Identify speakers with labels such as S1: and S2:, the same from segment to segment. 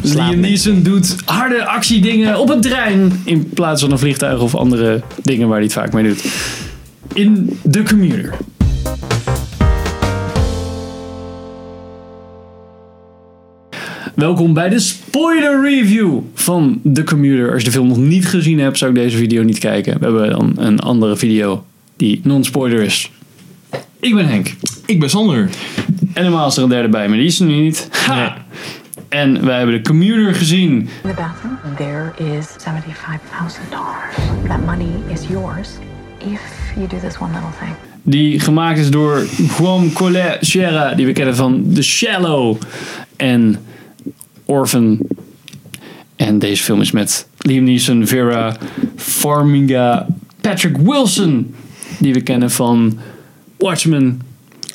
S1: Liam Neeson doet harde actiedingen op een trein in plaats van een vliegtuig of andere dingen waar hij het vaak mee doet. In The Commuter. Welkom bij de spoiler review van The Commuter. Als je de film nog niet gezien hebt, zou ik deze video niet kijken. We hebben dan een andere video die non-spoiler is. Ik ben Henk.
S2: Ik ben Sander.
S1: En normaal is er een derde bij, maar die is er nu niet. Ha! En wij hebben de commuter gezien.
S3: In the bathroom, there is $75,000. That money is yours if you do this one little thing.
S1: Die gemaakt is door Juan Collet Sierra, die we kennen van The Shallow en Orphan. En deze film is met Liam Neeson, Vera Farmiga, Patrick Wilson, die we kennen van Watchmen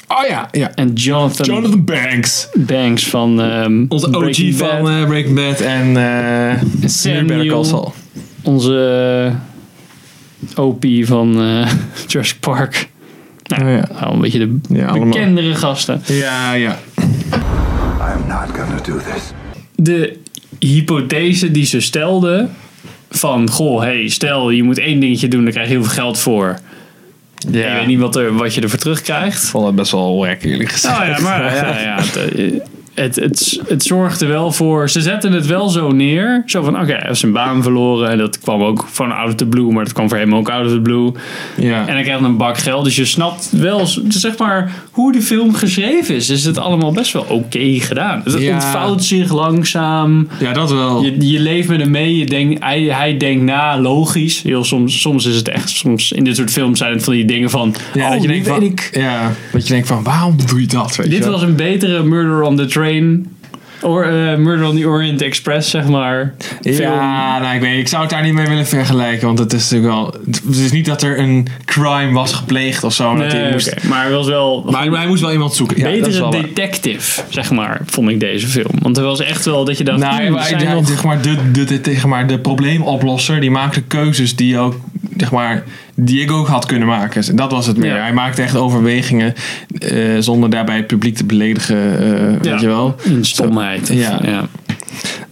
S2: Oh ja, ja.
S1: en Jonathan,
S2: Jonathan Banks.
S1: Banks van ehm,
S2: Onze OG
S1: Breaking Bad.
S2: van eh Breaking Bad en eh
S1: Samuel.
S2: Better Call Saul.
S1: Onze eh, OP van eh Jurassic Park.
S2: Oh ja.
S1: Nou, een beetje de
S2: Ja, allemaal.
S1: bekendere gasten.
S2: Ja, ja.
S4: I'm not gonna do this.
S1: de hypothese die ze stelden van goh, hey, stel je moet één dingetje doen, dan krijg je heel veel geld voor.
S2: ja.
S1: Ik weet niet wat, er, wat je ervoor terugkrijgt.
S2: vond het best wel wack eerlijk gezegd.
S1: Oh ja, maar ja, ja, het, eh, het, het, het zorgde wel voor. Ze zetten het wel zo neer. Zo van: oké, hij heeft zijn baan verloren. En dat kwam ook van out of the blue, maar dat kwam voor hem ook out of the blue.
S2: Ja.
S1: En hij krijgt een bak geld. Dus je snapt wel, dus zeg maar, hoe de film geschreven is. Is het allemaal best wel oké gedaan? Het
S2: Ja.
S1: ontvouwt zich langzaam.
S2: ja, dat wel.
S1: Je, je leeft met hem mee, je denkt, hij, hij denkt na, logisch. Heel, soms, soms is het echt, soms in dit soort films zijn het van die dingen van...
S2: ja,
S1: oh,
S2: dat je
S1: nu
S2: denkt van,
S1: weet ik.
S2: Ja, dat je denkt van, waarom doe je dat? Weet
S1: Dit
S2: je wel?
S1: was een betere Murder on the Train. Or, eh, Murder on the Orient Express, zeg maar. film.
S2: Ja, nou, ik weet Ik zou het daar niet mee willen vergelijken. Want het is natuurlijk wel... Het is niet dat er een crime was gepleegd of zo. dat
S1: Nee,
S2: hij moest,
S1: oké, Maar het was wel
S2: Maar hij- hij moest wel iemand zoeken. Ja,
S1: een
S2: dat is
S1: betere
S2: wel waar.
S1: detective, zeg maar, vond ik deze film. Want er was echt wel dat je dacht...
S2: Nou,
S1: "Hmm,
S2: ja,
S1: er
S2: maar,
S1: zijn
S2: ja,
S1: nog
S2: zeg maar, de, de, de, zeg maar, de probleemoplosser die maakte keuzes die ook, zeg maar, die ik ook had kunnen maken. Dat was het meer.
S1: Ja.
S2: Hij maakte echt overwegingen eh, zonder daarbij het publiek te beledigen, eh,
S1: Ja.
S2: weet je wel.
S1: een stomheid. of-
S2: Ja.
S1: ja.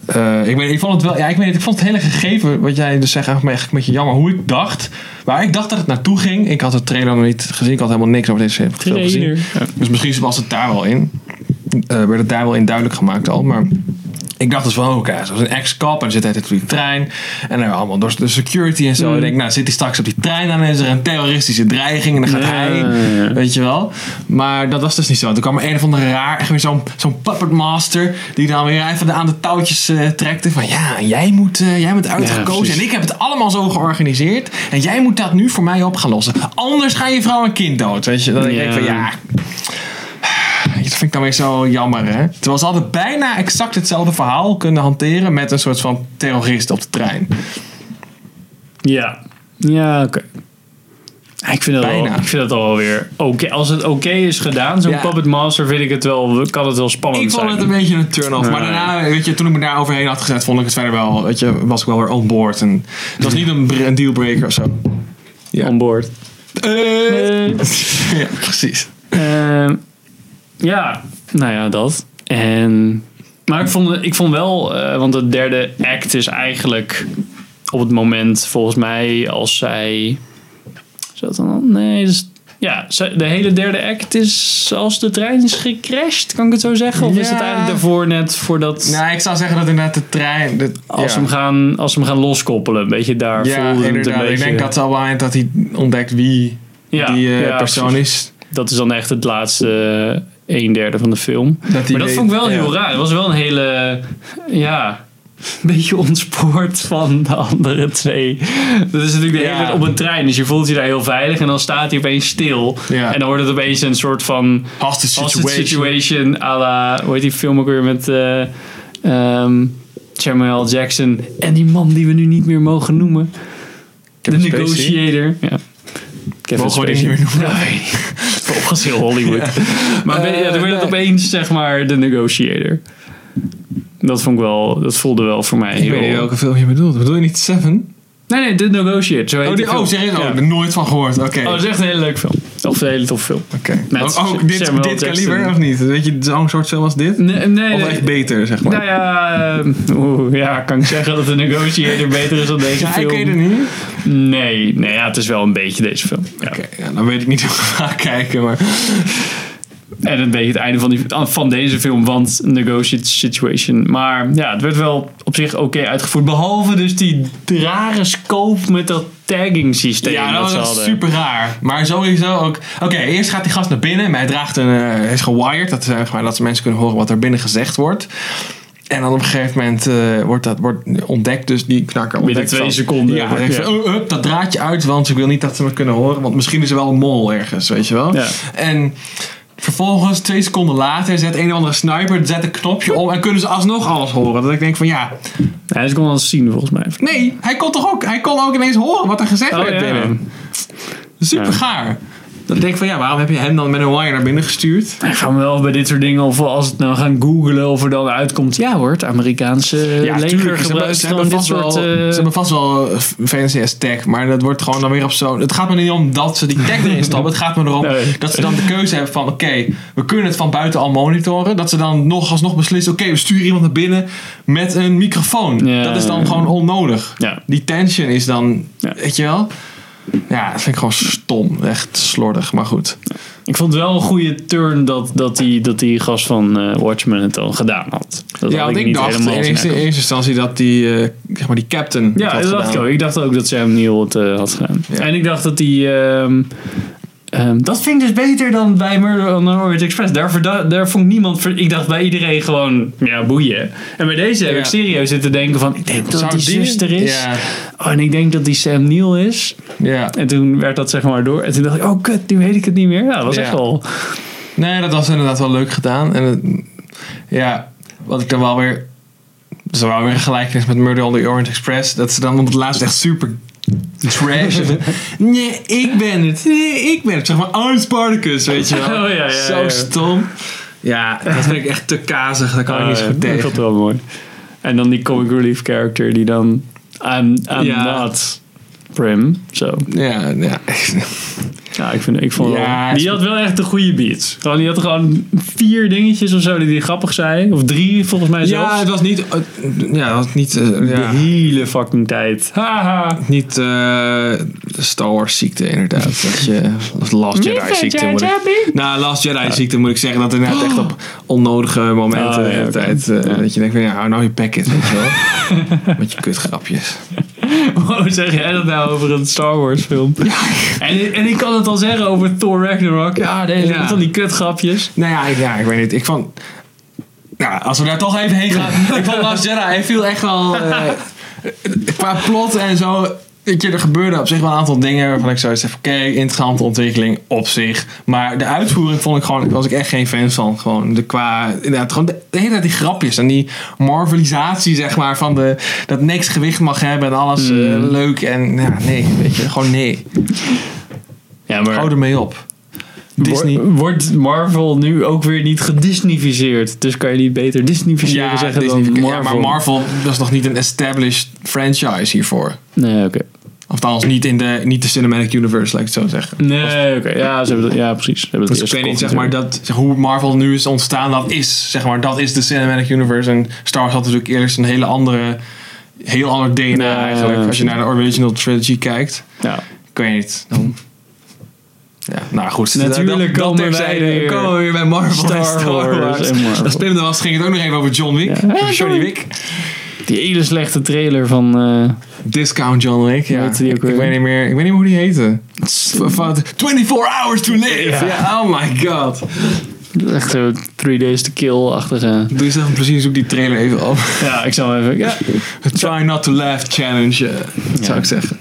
S2: Eh, ik, weet, ik vond het wel, ja, ik weet het, ik vond het hele gegeven, wat jij dus zegt, eigenlijk een beetje jammer. Hoe ik dacht, waar ik dacht dat het naartoe ging. Ik had de trailer nog niet gezien, ik had helemaal niks over deze film gezien.
S1: Trainer. Ja.
S2: Dus misschien was het daar wel in. Eh, werd het daar wel in duidelijk gemaakt al. Maar ik dacht dus van, oh, oké, hij is een ex-cop en hij zit hij op die trein. En dan allemaal door de security en zo.
S1: Mm.
S2: Ik denk, nou zit hij straks op die trein en dan is er een terroristische dreiging en dan gaat
S1: Ja,
S2: hij,
S1: ja, ja.
S2: weet je wel. Maar dat was dus niet zo. Toen kwam er een van de raar, echt weer zo'n zo'n puppet master die dan weer even aan de touwtjes eh, trekte. Van ja, jij moet, eh, jij bent uitgekozen
S1: precies.
S2: en ik heb het allemaal zo georganiseerd. En jij moet dat nu voor mij op gaan lossen. Anders gaan je vrouw en kind dood, weet je. Dan denk ik
S1: Ja.
S2: van ja, dat vind ik dan weer zo jammer, hè? Terwijl ze hadden bijna exact hetzelfde verhaal kunnen hanteren met een soort van terrorist op de trein.
S1: Ja, ja oké. Ik vind, dat al,
S2: Bijna.
S1: ik vind dat alweer oké. Als het oké is gedaan, zo'n
S2: Ja.
S1: Puppet Master, vind ik het wel, kan het wel spannend
S2: Ik vond
S1: zijn.
S2: het een beetje een turn-off. Maar
S1: Nee.
S2: daarna, weet je, toen ik me daar overheen had gezet, vond ik het verder wel, weet je, was ik wel weer on board. En het was niet een, br- een dealbreaker of zo. Eh, Ja.
S1: On board.
S2: Eh,
S1: Eh,
S2: ja, precies.
S1: ehm, ja, nou ja, dat. En, maar ik vond, ik vond wel, eh, want het derde act is eigenlijk op het moment, volgens mij, als zij... Is dat dan al? Nee, dat is- ja, zij- de hele derde act is als de trein is gecrashed, kan ik het zo zeggen? Of is het
S2: Ja.
S1: eigenlijk daarvoor net voordat...
S2: Nou, ik zou zeggen dat inderdaad de trein... De,
S1: Als,
S2: ja.
S1: ze hem gaan, als ze hem gaan loskoppelen, een beetje daar
S2: Ja,
S1: voelde het een
S2: inderdaad.
S1: beetje.
S2: Ik denk dat het al wel eind dat hij ontdekt wie
S1: Ja,
S2: die eh,
S1: ja,
S2: persoon
S1: precies.
S2: is.
S1: Dat is dan echt het laatste eh, een derde van de film.
S2: Dat
S1: maar dat vond ik wel heel raar. Het was wel een hele, ja, een beetje ontspoord van de andere twee. Dat is natuurlijk de
S2: Ja.
S1: hele tijd op een trein, dus je voelt je daar heel veilig en dan staat hij opeens stil.
S2: Ja.
S1: En dan wordt het opeens een soort van
S2: Hostage
S1: hostage
S2: situation.
S1: situation à la, hoe heet die film ook weer met eh ehm, Samuel L. Jackson en die man die we nu niet meer mogen noemen. De
S2: Kevin Spacey.
S1: Negotiator. Ja. Kevin
S2: Mogen we die
S1: Spacey.
S2: niet meer noemen?
S1: Nee. Volgens heel Hollywood. Maar ben- ja, dan
S2: Eh,
S1: werd het
S2: nee.
S1: opeens, zeg maar, de Negotiator. Dat vond ik wel, dat voelde wel voor mij
S2: Ik
S1: heel...
S2: weet niet welke film je bedoelt. Bedoel je niet Seven?
S1: Nee, nee, The Negotiator. Zo heet die
S2: Oh, die,
S1: film.
S2: oh serieus?
S1: Ja.
S2: Oh, ik heb er nooit van gehoord. Oké.
S1: Oh, dat is echt een hele leuke film. Of de hele toffe film.
S2: Oké.
S1: Met
S2: Ook, ook
S1: Sh-
S2: dit,
S1: Samuel
S2: dit
S1: Jackson.
S2: kaliber of niet? Weet je, zo'n soort film als dit?
S1: Nee, nee,
S2: Of
S1: nee.
S2: echt beter, zeg maar?
S1: Nou ja,
S2: ehm,
S1: eh, oeh, ja, kan ik zeggen dat de Negotiator beter is dan deze
S2: Ja, ik
S1: film?
S2: weet het niet.
S1: Nee, nee ja, het is wel een beetje deze film. Ja.
S2: Oké, ja, dan weet ik niet hoe we gaan kijken, maar...
S1: En een beetje het einde van, die, ah, van deze film, want negotiate situation. Maar ja, het werd wel op zich oké uitgevoerd. Behalve dus die rare scope met dat tagging systeem.
S2: Ja,
S1: dat
S2: dat
S1: ze
S2: was echt
S1: hadden.
S2: super raar. Maar sowieso ook... Oké, eerst gaat die gast naar binnen, maar hij draagt een... eh, hij is gewired, dat, is, zeg maar, dat mensen kunnen horen wat er binnen gezegd wordt. En dan op een gegeven moment eh, wordt dat wordt ontdekt, dus die knakker ontdekt
S1: twee
S2: van-
S1: seconden.
S2: Ja, hij denkt
S1: Ja.
S2: van, oh, up, dat draadje uit, want ik wil niet dat ze me kunnen horen. Want misschien is er wel een mol ergens, weet je wel.
S1: Ja.
S2: En vervolgens, twee seconden later, zet een of andere sniper zet een knopje om en kunnen ze alsnog alles horen. Dat ik denk van, ja,
S1: Hij is gewoon aan het zien volgens mij.
S2: nee, hij kon toch ook, hij kon ook ineens horen wat er gezegd
S1: Oh,
S2: werd
S1: ja.
S2: binnen. Super
S1: Ja.
S2: gaar. Dan denk ik van ja, waarom heb je hem dan met een wire naar binnen gestuurd?
S1: Ik ga me wel bij dit soort dingen, of als het nou gaan googlen of er dan uitkomt. Ja hoor, het Amerikaanse ja, leger
S2: tuurlijk, Ze hebben,
S1: gebruikt
S2: ze,
S1: gewoon
S2: hebben
S1: dit
S2: vast wel,
S1: soort...
S2: ze
S1: eh,
S2: hebben vast wel eh, VNCS tag, maar dat wordt gewoon dan weer op zo'n. Het gaat me niet om dat ze die tag erin stappen. Het gaat me erom
S1: Nee.
S2: dat ze dan de keuze hebben van: oké, we kunnen het van buiten al monitoren. Dat ze dan nog alsnog beslissen: oké, we sturen iemand naar binnen met een microfoon.
S1: Ja.
S2: Dat is dan gewoon onnodig.
S1: Ja.
S2: Die tension is dan,
S1: Ja.
S2: weet je wel. Ja, dat vind ik gewoon stom. Echt slordig, maar goed.
S1: Ik vond het wel een goede turn dat, dat, die, dat die gast van eh, Watchmen het al gedaan had. Dat
S2: ja,
S1: had
S2: want ik dacht in
S1: zien
S2: eerste, in
S1: aankomen.
S2: eerste instantie dat die, eh, zeg maar die captain. het
S1: Ja,
S2: had
S1: dat dacht ik
S2: gedaan.
S1: ook. Ik dacht ook dat Sam Neill het eh, had gedaan.
S2: Ja.
S1: En ik dacht dat die... ehm, ehm, dat vind ik dus beter dan bij Murder on the Orient Express. Daar, verda- daar vond niemand... ver- ik dacht bij iedereen gewoon, ja, boeien. En bij deze heb
S2: Ja.
S1: ik serieus zitten denken van... Ik denk dat
S2: Zou
S1: die
S2: die-
S1: zuster is.
S2: Ja.
S1: Oh, en ik denk dat die Sam Neill is.
S2: Ja.
S1: En toen werd dat zeg maar door. En toen dacht ik, oh kut, nu weet ik het niet meer. Ja, dat was
S2: Ja.
S1: echt wel...
S2: Nee, dat was inderdaad wel leuk gedaan. En het- ja, wat ik dan wel weer. Dat is wel weer een gelijkenis met Murder on the Orient Express. Dat ze dan op het laatst echt super trash. nee, ik ben het. Nee, ik ben het. Zeg maar, I'm Spartacus, weet je wel.
S1: Oh, ja, ja,
S2: Zo
S1: ja.
S2: stom. Ja, dat vind ik echt te kazig. Daar kan ik niet zo
S1: Eh,
S2: goed
S1: Ik
S2: tegen.
S1: vond het wel mooi. En dan die comic relief character die dan... I'm, I'm
S2: Ja.
S1: not Prim. Zo.
S2: Ja, ja.
S1: Ja, ik, vind, ik vond
S2: Ja,
S1: wel, Die had wel echt de goede beats. Gewoon, die had gewoon vier dingetjes of zo die die grappig zijn. Of drie volgens mij
S2: ja,
S1: zelfs.
S2: het was niet. Ja, het was niet. eh,
S1: De
S2: ja.
S1: hele fucking tijd. Haha.
S2: Niet eh Star Wars ziekte, inderdaad. Dat je, dat Last Jedi ziekte. Moet ik, nou, Last Jedi ziekte moet ik zeggen dat inderdaad echt op onnodige momenten
S1: Oh, ja,
S2: de hele
S1: oké.
S2: tijd. eh, Dat je denkt van ja, hou nou je packet, weet je wel. Met je kutgrapjes.
S1: Hoe zeg jij dat nou over een Star Wars film? En, en ik kan het al zeggen over Thor Ragnarok. Ja, deze
S2: Ja.
S1: met van die kutgrapjes.
S2: Nou ja, ik, ja, ik weet niet. Ik vond. Nou, als we daar toch even heen gaan. ik vond Last Jedi, hij viel echt wel. eh, qua plot en zo. Weet je, er gebeurde op zich wel een aantal dingen waarvan ik zoiets heb. Oké, interessante ontwikkeling op zich. Maar de uitvoering vond ik gewoon. was ik echt geen fan van. Gewoon de qua. Inderdaad, gewoon de, de hele tijd die grapjes en die marvelisatie, zeg maar. Van de, dat niks gewicht mag hebben en alles eh, leuk. En ja, nee, weet je, gewoon nee.
S1: Ja,
S2: Hou ermee op. Disney.
S1: Wor- Wordt Marvel nu ook weer niet gedisneyficeerd? Dus kan je niet beter disneyficeren zeggen
S2: Disney-
S1: dan Marvel?
S2: ja, maar Marvel dat is nog niet een established franchise hiervoor.
S1: Nee, oké.
S2: Althans, niet in de, niet de cinematic universe, laat ik het zo zeggen.
S1: Nee, oké. Ja, ze hebben dat- ja, precies. Ze hebben het
S2: Dus ik
S1: eerst
S2: weet niet, zeg
S1: gekocht
S2: maar, dat, zeg, hoe Marvel nu is ontstaan, dat is, zeg maar, dat is de cinematic universe. En Star Wars had natuurlijk eerst een hele andere, heel ander DNA
S1: Ja,
S2: eigenlijk.
S1: ja,
S2: Als je naar de original trilogy kijkt,
S1: natuurlijk. Ja.
S2: ik weet niet, dan... Ja, nou goed.
S1: Natuurlijk
S2: dat- dat
S1: komen wij
S2: terzijde.
S1: weer.
S2: komen we weer bij Marvel en
S1: Star Wars en Marvel.
S2: Als Pim er was, ging het ook nog even over John Wick.
S1: Ja.
S2: Over Johnny Wick.
S1: Die hele slechte trailer van... eh,
S2: Discount John Wick, ja.
S1: Hoe heette die ook
S2: ik, ik
S1: weer?
S2: weet niet meer, ik weet niet meer hoe die heette. V- Van 24 hours to
S1: Ja.
S2: live! Ja, oh my god.
S1: echt zo Three Days to Kill-achtige...
S2: Doe jezelf een plezier, zoek die trailer even op.
S1: Ja, ik zal even... Ja.
S2: Try not to laugh challenge, eh, zou ik zeggen.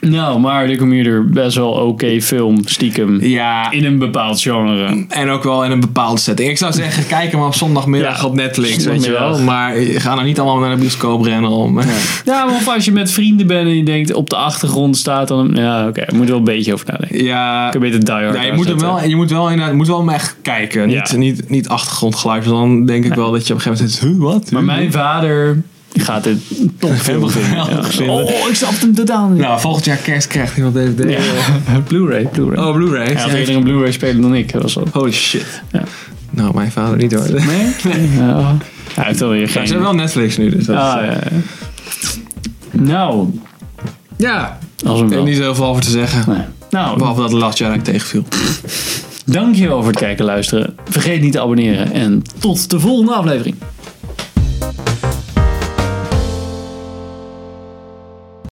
S1: Nou, maar de commuter, best wel oké film, stiekem.
S2: Ja,
S1: In een bepaald genre.
S2: en ook wel in een bepaalde setting. Ik zou zeggen, kijk hem op zondagmiddag
S1: Ja,
S2: op Netflix, weet je wel.
S1: zondagmiddag.
S2: Maar eh, ga nou niet allemaal naar de bioscoop rennen om...
S1: Ja, maar of als je met vrienden bent en je denkt op de achtergrond staat dan... Ja, oké, moet er wel een beetje over nadenken.
S2: Ja,
S1: Ik heb beter Die Hard
S2: Ja, je moet, hem
S1: uitzetten.
S2: wel, je moet wel inderdaad, je moet wel hem echt kijken.
S1: Ja.
S2: Niet, niet, niet achtergrondgeluid, want dan denk ik wel dat je op een gegeven moment zegt, huh, wat?
S1: Maar mijn vader gaat dit topfilm Mhm. vinden.
S2: geweldig
S1: Ja.
S2: vinden.
S1: Oh, ik snap hem totaal niet.
S2: Nou, volgend jaar kerst krijgt iemand DVD.
S1: Ja. Blu-ray, Blu-ray.
S2: Oh, Blu-ray.
S1: Hij had eerder een Blu-ray speler dan ik. Dat was wat.
S2: Holy shit.
S1: Ja.
S2: Nou, mijn vader niet hoor. Ze
S1: Nee? Ja. Hij heeft wel weer geen...
S2: hebben wel Netflix nu, dus dat is,
S1: Ah,
S2: eh,
S1: ja. Nou,
S2: ja.
S1: als een
S2: Er
S1: wel.
S2: is niet zoveel over te zeggen.
S1: Nee. Nou,
S2: Behalve dat het laatste jaar dat ik tegenviel.
S1: dankjewel voor het kijken en luisteren. Vergeet niet te abonneren en tot de volgende aflevering.